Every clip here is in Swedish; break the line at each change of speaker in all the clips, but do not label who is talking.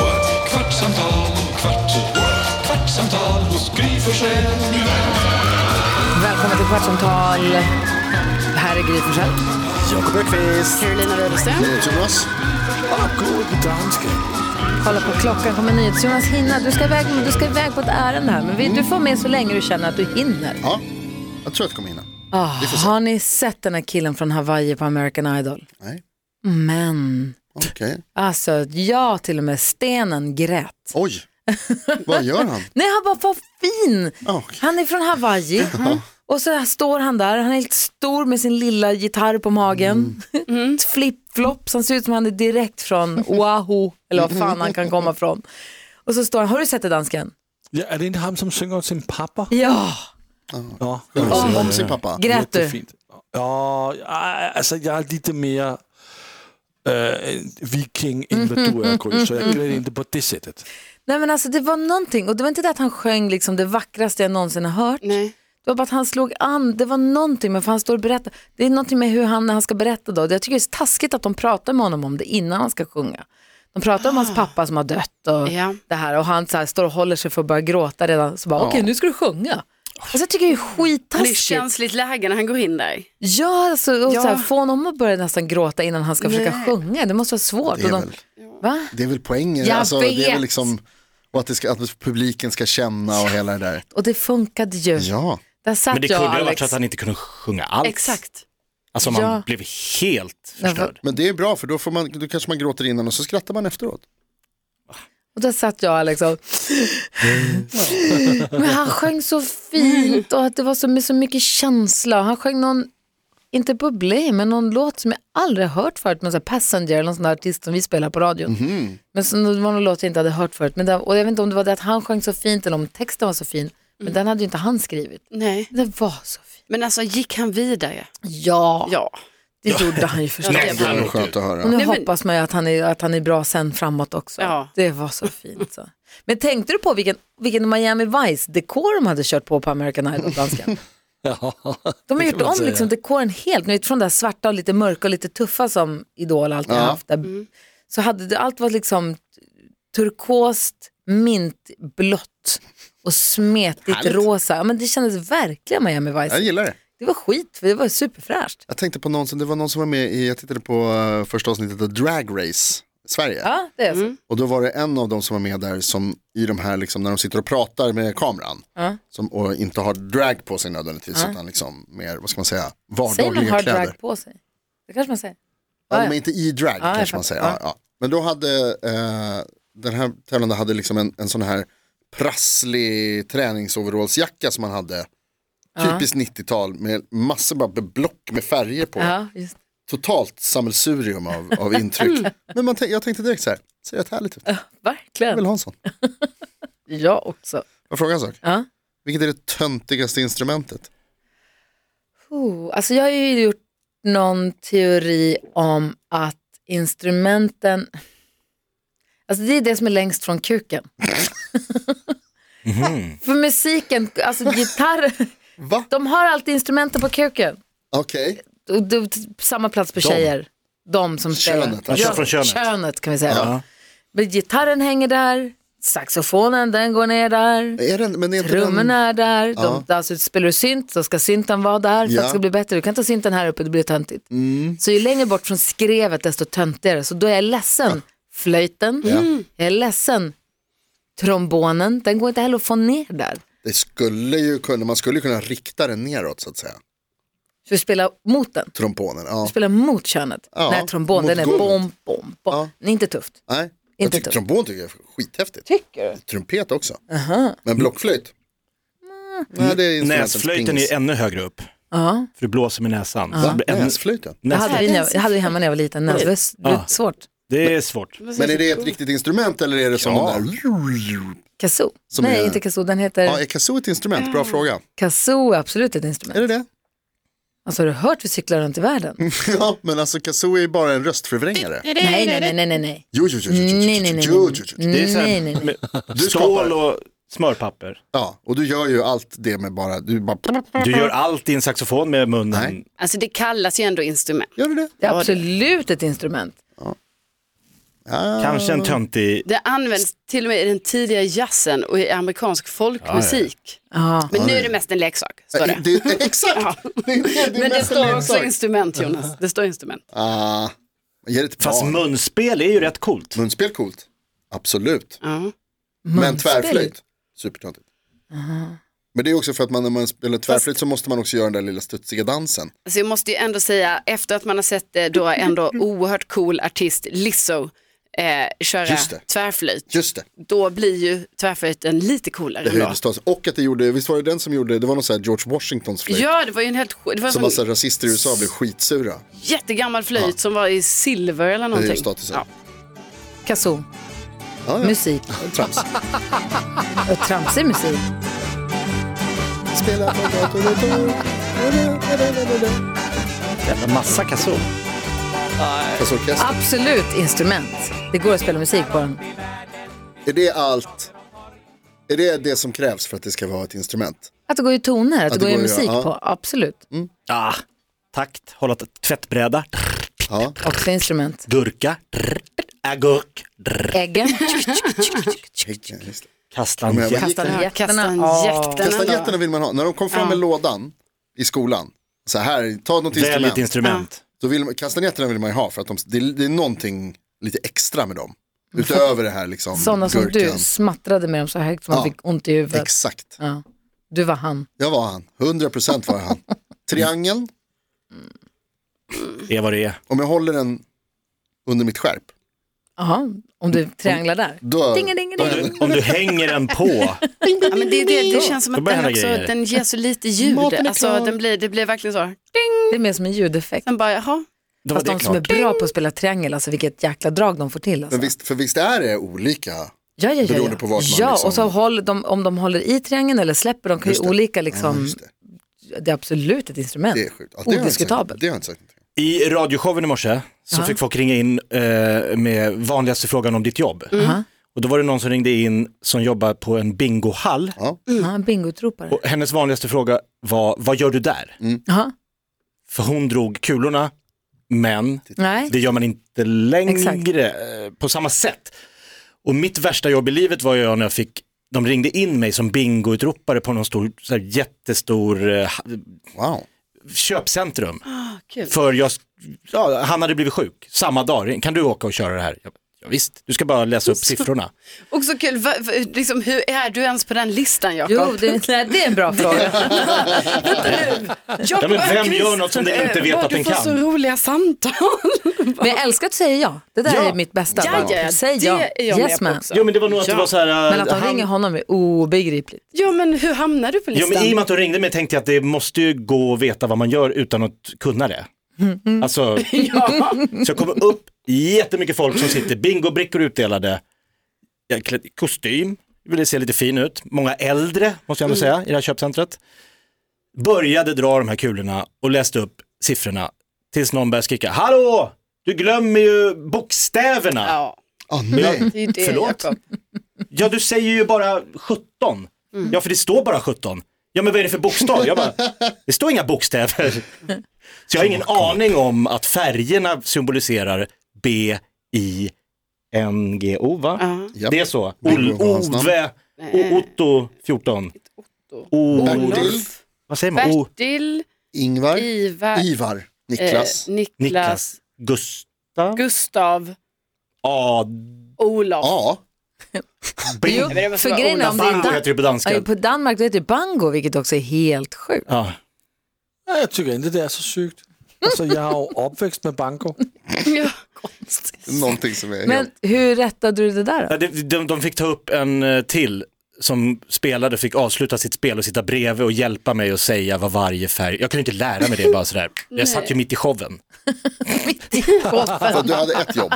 what? kvartsamtal, kvart, what? kvartsamtal hos Gry Forssell med vänner.
Välkommen till Kvartsamtal. Här är Gry Forssell.
Carolina Widerström. Ah,
Kolla på klockan, kommer NyhetsJonas hinna? Du ska, iväg, du ska iväg på ett ärende här, men vi, du får med så länge du känner att du hinner.
Ja, jag tror att jag kommer hinna.
Ah, har ni sett den här killen från Hawaii på American Idol?
Nej,
Men,
okej.
alltså jag till och med stenen grät.
Oj, vad gör han?
Nej, han bara, vad fin!
Okej.
Han är från Hawaii. Och så här står han där, han är helt stor med sin lilla gitarr på magen. Mm. Flip-flops, han ser ut som han är direkt från Oahu, eller vad fan han kan komma från. Och så står han, har du sett det dansken?
Ja, är det inte han som sjunger åt sin pappa?
Ja,
Ja,
Om, om sin pappa.
grät du?
jättefint. Ja, alltså jag är lite mer eh, viking än vad du är, Gry, så
Mm,
jag grät inte på det sättet.
Nej men alltså det var någonting, och det var inte det att han sjöng liksom det vackraste jag någonsin har hört.
Nej.
Det var bara att han slog an, det var någonting med, för han står och berättar, det är någonting med hur han, när han ska berätta då, jag tycker det är så taskigt att de pratar med honom om det innan han ska sjunga. De pratar om hans pappa som har dött och
Ja.
det här och han så här står och håller sig för att börja gråta redan, så bara okej nu ska du sjunga. Alltså jag tycker det är
Han är i ett
skittaskigt.
känsligt läge när han går in där.
Ja, alltså, och
Ja.
Så här, få honom att börja nästan gråta innan han ska försöka sjunga, det måste vara svårt.
Det är
och de,
väl-
Va?
Det är väl poängen,
Jag
alltså, det är
vet.
väl liksom, och att, det ska, att publiken ska känna och hela det där.
Och det funkade ju.
Ja,
Där satt
Men det
jag
kunde
och
ju ha varit
Alex.
så att han inte kunde sjunga alls.
Exakt.
Alltså man
Ja.
blev helt förstörd.
men det är bra för då, får man, då kanske man gråter innan och så skrattar man efteråt.
Och där satt jag liksom. Men han sjöng så fint och att det var så, med så mycket känsla. Han sjöng någon, inte bubblig, men någon låt som jag aldrig har hört förut. Men så här Passenger eller någon sån där artist som vi spelar på radion.
Mhm.
Men så, det var någon låt jag inte hade hört förut. Men det, och jag vet inte om det var det att han sjöng så fint eller om texten var så fin. Men den hade ju inte han skrivit.
Mm. Nej.
Det var så fint.
Men alltså gick han vidare?
Ja,
Ja.
det gjorde han ju förstås.
det var-
Det är skönt att
Och
höra.
nu
Nej, men-
hoppas man ju att han, är, att han är bra sen framåt också.
Ja.
Det var så fint. Så. Men tänkte du på vilken, vilken Miami Vice-dekor de hade kört på på American Idol, dansken? De har gjort om liksom, dekoren helt, ni vet från det där svarta och lite mörka och lite tuffa som Idol alltid har
Ja.
haft. Där. Så hade det, allt var liksom turkost, mintblått och smetigt
Härligt.
rosa. Ja, men det kändes verkligen Miami
Jag
Vice.
gillar det.
Det var skit, för det var superfräscht.
Jag tänkte på någon som, det var någon som var med i, jag tittade på eh, första avsnittet av Drag Race Sverige.
Ja, det är så.
Och då var det en av dem som var med där som i de här, liksom, när de sitter och pratar med kameran. Som, och inte har drag på sig nödvändigtvis utan liksom mer, vad ska man säga,
Säger man
vardagliga
har
kläder.
drag på sig? Det kanske man säger.
Ja,
Ja, ja.
men inte i drag
jag
kanske
fattar.
man säger. Ja, ja. Men då hade eh, den här tävlande hade liksom en, en sån här prasslig träningsoverallsjacka som man hade. Typiskt 90-tal med massor bara med block med färger på.
Ja, just.
Totalt sammelsurium av, av intryck. men man tänk, jag tänkte direkt så här, ser rätt härligt ut. Jag
Verkligen.
vill ha en sån.
Jag också.
Jag frågar en sak.
Ja.
Vilket är det töntigaste instrumentet?
Oh, alltså jag har ju gjort någon teori om att instrumenten, alltså det är det som är längst från kuken. För musiken, alltså gitarr,
Mhm. Va?
de har alltid instrumenten på kuken.
Okej,
Och du, samma plats för tjejer. De som
Könet,
spelar.
alltså.
Ja,
Från könet.
könet kan vi säga. då. Men gitarren hänger där, saxofonen den går ner där.
är den, men är inte den...
Trummorna är där, de,
Ja.
alltså, spelar du synt så ska synten vara där för
Ja. Mm.
att det ska bli bättre. Du kan ta synten här uppe, det blir töntigt. Så ju längre bort från skrevet desto töntigare. Så då är jag ledsen, flöjten, jag är ledsen, trombonen, den går inte heller att få ner där.
Det skulle ju kunna, man skulle ju kunna rikta den neråt så att säga.
Så vi spelar mot den,
Trombonen, ja.
vi spelar mot könet.
Ja,
Nej, trombonen
mot
är bom,
golvet.
bom, bom.
Ja.
Det är inte tufft.
Nej, jag
Inte
tycker
ett
trombon tycker jag är skithäftigt. Tycker du? Trumpet också. Men blockflöjt?
Mm.
Nej, det är instrumentens
Näsflöjten
pingis. Ah,
är ännu högre upp.
Ja.
För det blåser med näsan. Så det blir ännu-
Näsflöjten?
Det
näs-
hade vi, när jag- det hade vi hemma när jag var liten, det var s- det var
Ja.
svårt.
Det är svårt.
Men är det ett riktigt instrument eller är det som
Ja.
de där?
Kazoo?
Som
Nej,
är-
inte kazoo, den heter
Ja, är kazoo ett instrument?
Mm.
Bra fråga.
kazoo, är absolut ett
Är
instrument.
det det?
Alltså har du hört vi cyklar runt i världen?
Ja, men alltså kazoo är ju bara en röstförvrängare.
nej, nej, nej, nej, nej, nej.
Jo, jo, jo, jo, jo,
Nej, nej, nej,
jo, jo, jo.
Det är
nej,
så här-
nej, nej, nej.
Du
skapar-
Stål och smörpapper.
Ja, och du gör ju allt det med bara, du bara,
Du gör allt i en saxofon med munnen.
Nej.
Alltså det kallas ju ändå instrument.
gör du det?
Det är absolut ett instrument.
Kanske en töntig...
Det används till och med i den tidiga jazzen och i amerikansk folkmusik.
Ja.
Men nu är det mest en leksak, står
Eh,
det.
det exakt! Det är det, det är
Men det
mest en
står
leksak.
också instrument Jonas. Det står instrument.
Ah, ge det till
Fast
barn.
munspel är ju rätt coolt.
Munspel coolt. Absolut.
Ja.
Men tvärflöjt. Supertöntigt. Men det är också för att man, när man spelar tvärflöjt så måste man också göra den där lilla studsiga dansen.
Alltså jag måste ju ändå säga, efter att man har sett eh, då ändå oerhört cool artist Lizzo eh, köra
Just det.
tvärflöjt,
Just det,
då blir ju tvärflöjten lite
det
coolare. ändå.
höjdes tas. Och att det gjorde, visst var det den som gjorde, det var någon sån här George Washingtons flöjt.
Ja, det var ju en helt det var
Som
en
massa
sån
rasister i USA blev skitsura.
jättegammal flöjt som var i silver eller
Det är ju
någonting.
statusen.
Ja.
Kazoo,
Ja, ja.
musik
Trams.
och tramsig musik.
Spela på dator, dator.
Jävla massa kazoo.
Kassorkester.
Absolut instrument. Det går att spela musik på den.
Är det allt? Är det det som krävs för att det ska vara ett instrument?
Att det går i toner, att, det går i
att
musik
göra, ja.
på. Absolut.
Ah, takt, hålla t- tvättbräda,
Ja.
Också instrument.
gurka, agurk,
Äggen.
Ja, just det.
kastanjett.
Ja, men-
Kastanjetterna.
Kastanjetterna vill man ha. När de kom fram med lådan i skolan, så här, ta något
Välj
instrument.
ett instrument.
Då vill, man- kastanjetterna vill man ju ha för att de, det, är- det är någonting lite extra med dem. Utöver det här liksom.
Sådana som
gurkan.
du smattrade med dem så högt som man
Ja.
fick ont i huvudet.
Exakt,
Ja. Du var han.
jag var han. 100% var jag han. Triangeln,
Det är vad det är.
om jag håller den under mitt skärp,
Jaha, om du trianglar där.
då...
Dingelingeling.
Om du hänger den på.
Ja, men det, det, det känns som
Då
att
börjar
den,
hända
också,
grejer.
den ger så lite ljud. Alltså, den blir, det blir verkligen så.
Det är mer som en ljudeffekt.
Sen bara, jaha.
Då var
Fast
det
de som är
klart.
bra på att spela triangel, alltså vilket jäkla drag de får till. Alltså.
Men visst, för visst är det olika?
ja, ja, ja, ja.
beroende på vart man
ja,
liksom-
och så håller de, om de håller i triangeln eller släpper, de kan
Just
ju
det.
olika
Ja,
liksom.
just det.
det är absolut ett instrument.
Det är sjukt. Ja, det har jag inte sagt-
Odiskutabelt.
Det har jag inte sagt någonting om.
I radioshowen i morse så
Ja.
fick folk ringa in eh, med vanligaste frågan om ditt jobb.
Mm.
Och då var det någon som ringde in som jobbar på en bingohall.
Ja, en bingotropare.
Och hennes vanligaste fråga var, vad gör du där?
Jaha,
För hon drog kulorna, men
Nej,
det gör man inte längre
Exakt.
eh, på samma sätt. Och mitt värsta jobb i livet var jag när jag fick, de ringde in mig som bingoutropare på någon stor, så här, jättestor eh, ha-
Wow.
köpcentrum.
kul.
För jag, ja, han hade blivit sjuk samma dag, kan du åka och köra det här? Jag, bara, ja, visst, du ska bara läsa upp siffrorna.
Och så kul, va, va, liksom, hur är du ens på den listan Jakob?
jo, det, nej, det är en bra fråga.
Jakob
Ja, men vem
Öqvist,
gör något som den inte
eh,
vet
vad
att den
Du
kan?
får så roliga samtal.
Men jag älskar att säga ja. Det där
Ja.
är mitt bästa.
Ja, ja,
Säg
det
ja.
är jag med
Yes
på
man.
också. Alltså,
Jo men det var nog att det var så här, eh,
Men att de
han-
ringer honom är obegripligt.
Ja, men hur hamnar du på
Jo,
listan?
men I och med att de ringde mig tänkte jag att det måste ju gå att veta vad man gör utan att kunna det.
Mm-hmm.
Alltså, Så jag kommer upp jättemycket folk som sitter, bingobrickor utdelade, jag är klädd i kostym, ville se lite fin ut, många äldre måste jag ändå
Mm.
säga i det här köpcentret. Började dra de här kulorna och läste upp siffrorna tills någon började skrika, hallå, du glömmer ju bokstäverna.
Ja,
Ah, nej.
det är ju det
Förlåt?
Jakob.
Ja, du säger ju bara 17.
Mm.
Ja, för det står bara 17. Ja, men vad är det för bokstav? Jag bara, det står inga bokstäver. Så jag har ingen aning om att färgerna symboliserar B, I, N, G, O, va?
Ja.
Japp.
Det är så.
Bingo
Ol-
var hans namn.
Ove, o, Otto, 14. O,
Bertil,
vad säger man? O,
Bertil,
Ingvar,
Ivar,
Ivar,
eh,
Niklas,
Niklas,
Niklas,
Gustav,
Gustav,
Ad,
Olof.
A.
Jo,
det måste
för
vara
grejen är om det
Bango
är
heter det
Dan-
på danska.
Ja, på Danmark, då heter det bango, vilket också är helt sjukt.
Ja.
Nej, jag tycker inte det är så sykt. Alltså, jag har ju uppväxt med banko.
Ja.
Någonting som är
Men hur rättade du det där då?
Ja, det- De, de fick ta upp en eh, till som spelade, fick avsluta sitt spel och sitta bredvid och hjälpa mig att säga vad varje färg, jag kunde inte lära mig det bara sådär. Jag satt ju mitt i showen.
För att du hade ett jobb.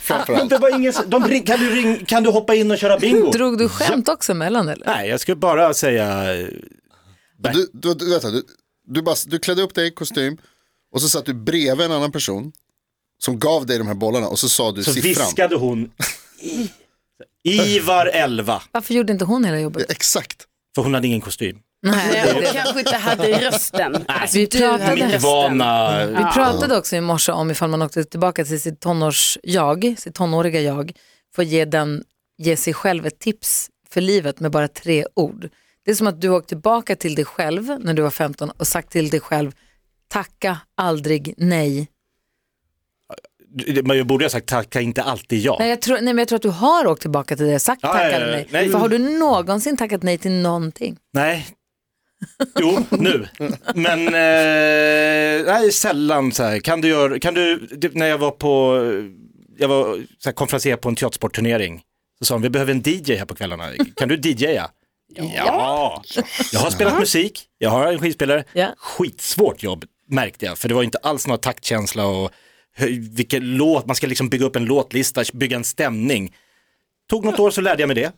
Framförallt.
Det var ingen, de, ring- kan, du ring, kan du hoppa in och köra bingo?
Drog du skämt också mellan eller?
Nej, jag skulle bara säga, eh,
Du, du, du, vänta, du, du, bara, du klädde upp dig i kostym och så satt du bredvid en annan person som gav dig de här bollarna och så sa du
så
siffran.
viskade hon i, Ivar 11,
Varför gjorde inte hon hela jobbet?
Exakt.
för hon hade ingen kostym.
Nej,
Nej, och kanske inte hade rösten. Alltså,
vi
du hade
pratade-
rösten.
Ivana,
Vi pratade också i morse om ifall man åkte tillbaka till sitt tonårs-jag, sitt tonåriga jag, för att ge, den, ge sig själv ett tips för livet med bara tre ord. Det är som att du åkt tillbaka till dig själv när du var 15 och sagt till dig själv, tacka aldrig nej.
man borde ha sagt tacka inte alltid ja.
Nej, jag tror, nej men jag tror att du har åkt tillbaka till det och sagt
Ja,
tacka
ja, ja,
aldrig nej.
nej.
För har du någonsin tackat nej till någonting?
Nej. Jo, nu. Men eh, nej, sällan så här. Kan du göra, kan du, typ när jag var på, jag var så här, konferenser på en teatersportturnering. Så sa de, vi behöver en DJ här på kvällarna. Kan du DJa? Ja. Jag har spelat musik, jag har en skivspelare.
Ja.
Skitsvårt jobb märkte jag, för det var inte alls någon taktkänsla och hö- vilken låt, man ska liksom bygga upp en låtlista, bygga en stämning. Tog något år så lärde jag mig det.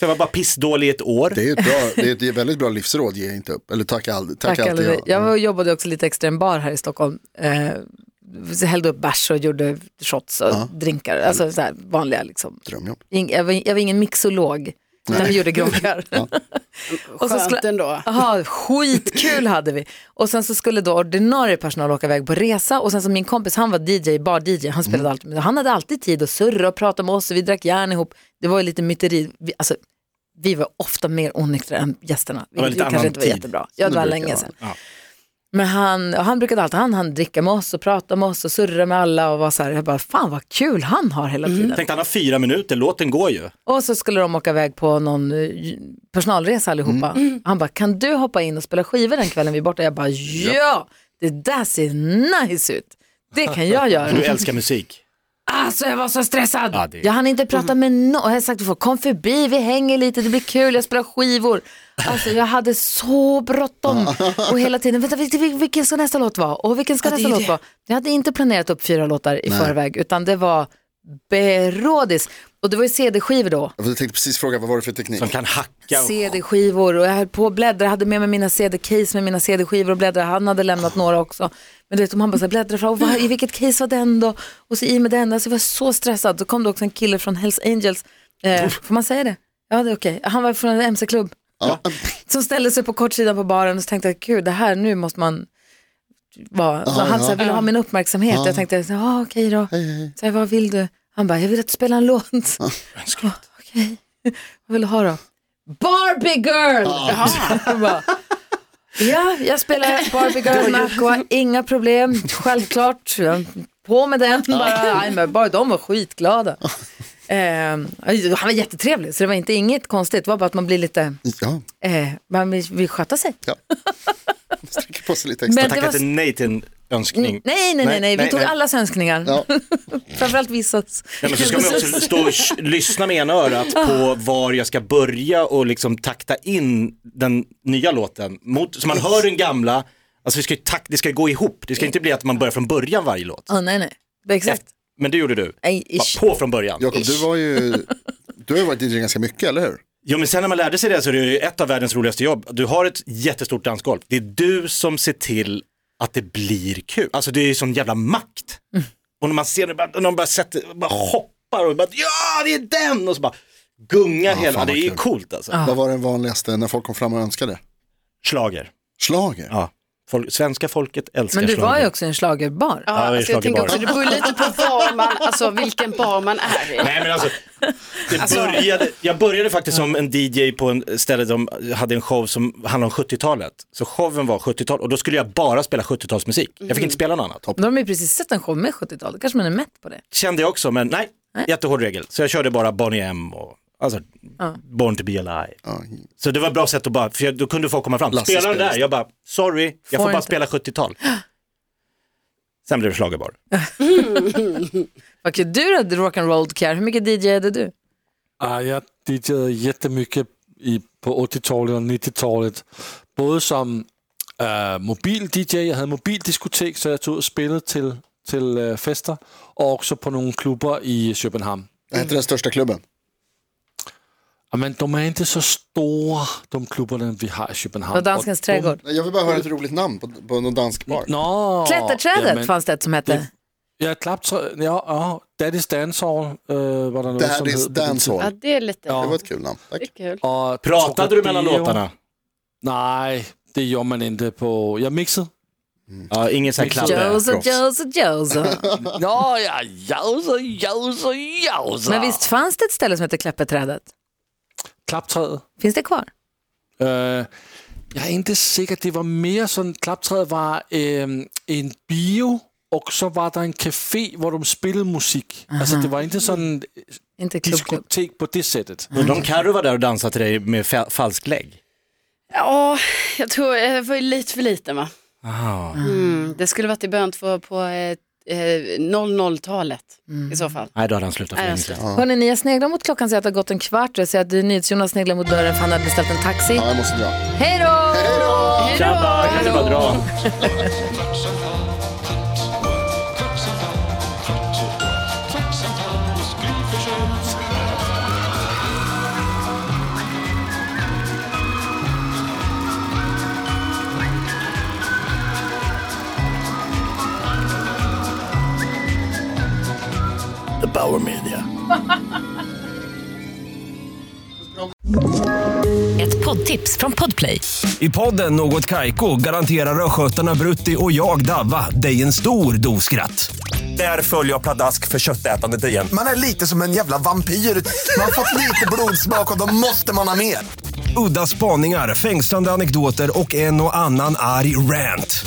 Så jag var bara pissdålig i ett år.
Det är ett, bra, det är ett väldigt bra livsråd, ge inte upp. Eller tacka aldrig, tacka
Tack,
alltid
aldrig.
ja. Mm.
Jag var- jobbade också lite extra i en bar här i Stockholm. Eh, så hällde upp bärs och gjorde shots och drinkar. Alltså så här, vanliga liksom.
Drömjobb.
Ing- Jag var, jag var ingen mixolog, utan vi gjorde groggar. och så
Skönt
skulle,
ändå.
aha, skitkul hade vi. Och sen så skulle då ordinarie personal åka iväg på resa och sen så min kompis, han var DJ, bar-DJ, han spelade alltid, men han hade alltid tid att surra och prata med oss och vi drack järn ihop. Det var ju lite myteri, vi, alltså, vi var ofta mer onyktra än gästerna, vilket
lite
vi kanske
annan
inte var
tid.
jättebra. Ja, det var
brukar
länge
vara.
sedan. Men han, och han brukade alltid han, han dricka med oss och prata med oss och surra med alla och var så här, jag bara, fan vad kul han har hela tiden.
Tänkte han har fyra minuter, låten går ju.
Och så skulle de åka iväg på någon eh, personalresa
Mm.
allihopa. Han bara, kan du hoppa in och spela skivor den kvällen vi är borta? Jag bara, ja, det där ser nice ut. Det kan jag göra.
Du älskar musik.
Alltså jag var så stressad.
Ja, det-
Jag hann inte prata med någon. Jag har sagt till folk, kom förbi, vi hänger lite, det blir kul, jag spelar skivor. Alltså jag hade så bråttom. Och hela tiden, vänta, vil- vil- vilken ska nästa låt vara? Och vilken ska
Ja, det
nästa
är
låt
det.
vara? Jag hade inte planerat upp fyra låtar i förväg, utan det var berådis. Och det var ju CD-skivor då.
Jag tänkte precis fråga, vad var det för teknik?
Som kan hacka. Och...
CD-skivor och jag höll på och bläddra, Jag hade med mig mina CD-case med mina CD-skivor och bläddra, han hade lämnat några också. Men du vet, om han bara så här bläddrar fram, och vad, i vilket case var den då? Och så i med den, alltså jag var så stressad. Då kom det också en kille från Hells Angels, eh, får man säga det? Ja, det är okej. Han var från en MC-klubb
Ja.
som ställde sig på kortsidan på baren och så tänkte jag, gud det här, nu måste man vara, så han så här, ville ha min uppmärksamhet. Jag tänkte, så här, ah, okej då, så här, vad vill du? Han bara, jag vill att du spelar en låt. Ah, Okej, vad vill du ha då? Barbie girl! Jag bara, ja, jag spelar Barbie girl med Aqua, inga problem, självklart. På med den bara. Nej, men bara de var skitglada. Ehm, han var jättetrevlig, så det var inte inget konstigt, det var bara att man blir lite
ja,
Eh, man vill, vill sköta sig.
sträcker på sig lite extra.
Men-
Tacka
det var-
inte nej till en önskning.
Nej, nej, nej, nej. vi tog allas önskningar.
Ja.
Framförallt vissas.
Nej, men så ska man också stå och sh- lyssna med ena örat
Ah.
på var jag ska börja och liksom takta in den nya låten. Mot, så man hör den gamla, alltså det ska, ju tak- det ska ju gå ihop. Det ska inte bli att man börjar från början varje låt.
Ah, nej, nej. Exakt.
Men det gjorde du.
Nej, ish.
Bara på från början.
Jakob, du var ju, du har ju varit DJ ganska mycket, eller hur?
Jo men sen när man lärde sig det så är det ju ett av världens roligaste jobb. Du har ett jättestort dansgolv. Det är du som ser till att det blir kul. Alltså det är ju sån jävla makt.
Mm.
Och när man ser det, bara- när de bara, sätter, bara hoppar och bara ja det är den och så bara gungar hela.
fan
Det
vad
är ju
kul.
coolt alltså.
Vad var den vanligaste när folk kom fram och önskade?
Schlager.
Slager.
Ja. Folk, svenska folket älskar
Men du
schlager.
var ju också i en schlagerbar.
Ja,
det är
alltså jag tänker
slagerbart.
också, det beror lite på var man, alltså, vilken bar man är i.
Nej men alltså, det började, jag började faktiskt som en DJ på en ställe som hade en show som handlade om 70-talet. Så showen var 70-tal och då skulle jag bara spela 70-talsmusik. Jag
Mm.
fick inte spela något annat.
De har ju precis sett en show med 70-tal, då kanske man är mätt på det.
kände jag också, men nej, jättehård regel. Så jag körde bara Bonnie M och alltså, Born to be alive.
Ja.
Så det var ett bra sätt att bara, för jag, då kunde folk komma fram, spela den
spelar
där, jag bara, sorry, jag får,
Får
bara
inte.
spela 70-tal. Sen blev det schlagerbar.
Vad kul. Du då, The Rock'n'Roll Care, hur mycket DJ är det du?
Ah, jag DJ'ede jättemycket i, på 80-talet och 90-talet. Både som äh, mobil-DJ, jag hade mobildiskotek, så jag tog och spelade till,
till eh, fester och också på några klubbar i Köpenhamn.
Vad heter den största klubben?
Ja, Men de är inte så stora, de klubbarna vi har i Köpenhamn.
På Danskens trädgård.
Nej, Jag vill bara höra ett roligt namn på, på någon dansk bar.
No,
Klätterträdet fanns det ett som hette.
det- Ja, klappträ... Ja, ja, Daddy's Dancehall eh, var det något
Daddy's
som hed på den tiden.
Dancehall.
Ja, det är lite
Det var
Ja.
ett kul namn. Tack.
det är kul.
Och
Pratade du mellan
Trocadero.
låtarna?
Nej, det gör man inte på... Jag mixar.
Ja, Mm. ingen sån här
Mixade.
kladd.
Jose, Jose, Jose.
Ja, ja, jausa, jausa, jausa.
Men visst fanns det ett ställe som hette Kläpperträdet?
Klappträdet.
Finns det kvar?
Øh, jeg er ikke sikker. Det var mere sådan, klaptræet var øh, en bio, og så var der en café, hvor de spillede musik. Altså, det var ikke sådan
Inte klubb, klubb.
diskotek på det sättet.
Undrar om Carro var där och dansade till dig med fa- falsk lägg?
Ja, jag tror jag var ju lite för liten va?
Ah.
Mm, det skulle varit i början på, på eh, eh, 00-talet i så fall.
Nej, då hade han slutat för
Nej,
länge
jag
sedan.
Hörrni, ni, jag sneglar mot klockan så att det har gått en kvart. Jag ser att NyhetsJonas sneglar mot dörren för han hade beställt en taxi.
Ja, jag måste dra.
Hej då!
Grabbar, kan ni bara dra?
Ett poddtips från Podplay.
I podden Något Kaiko garanterar östgötarna Brutti och jag, Davva, dig en stor dos skratt. Där följer jag pladask för köttätandet igen.
Man är lite som en jävla vampyr. Man har fått lite blodsmak och då måste man ha mer.
Udda spaningar, fängslande anekdoter och en och annan arg rant.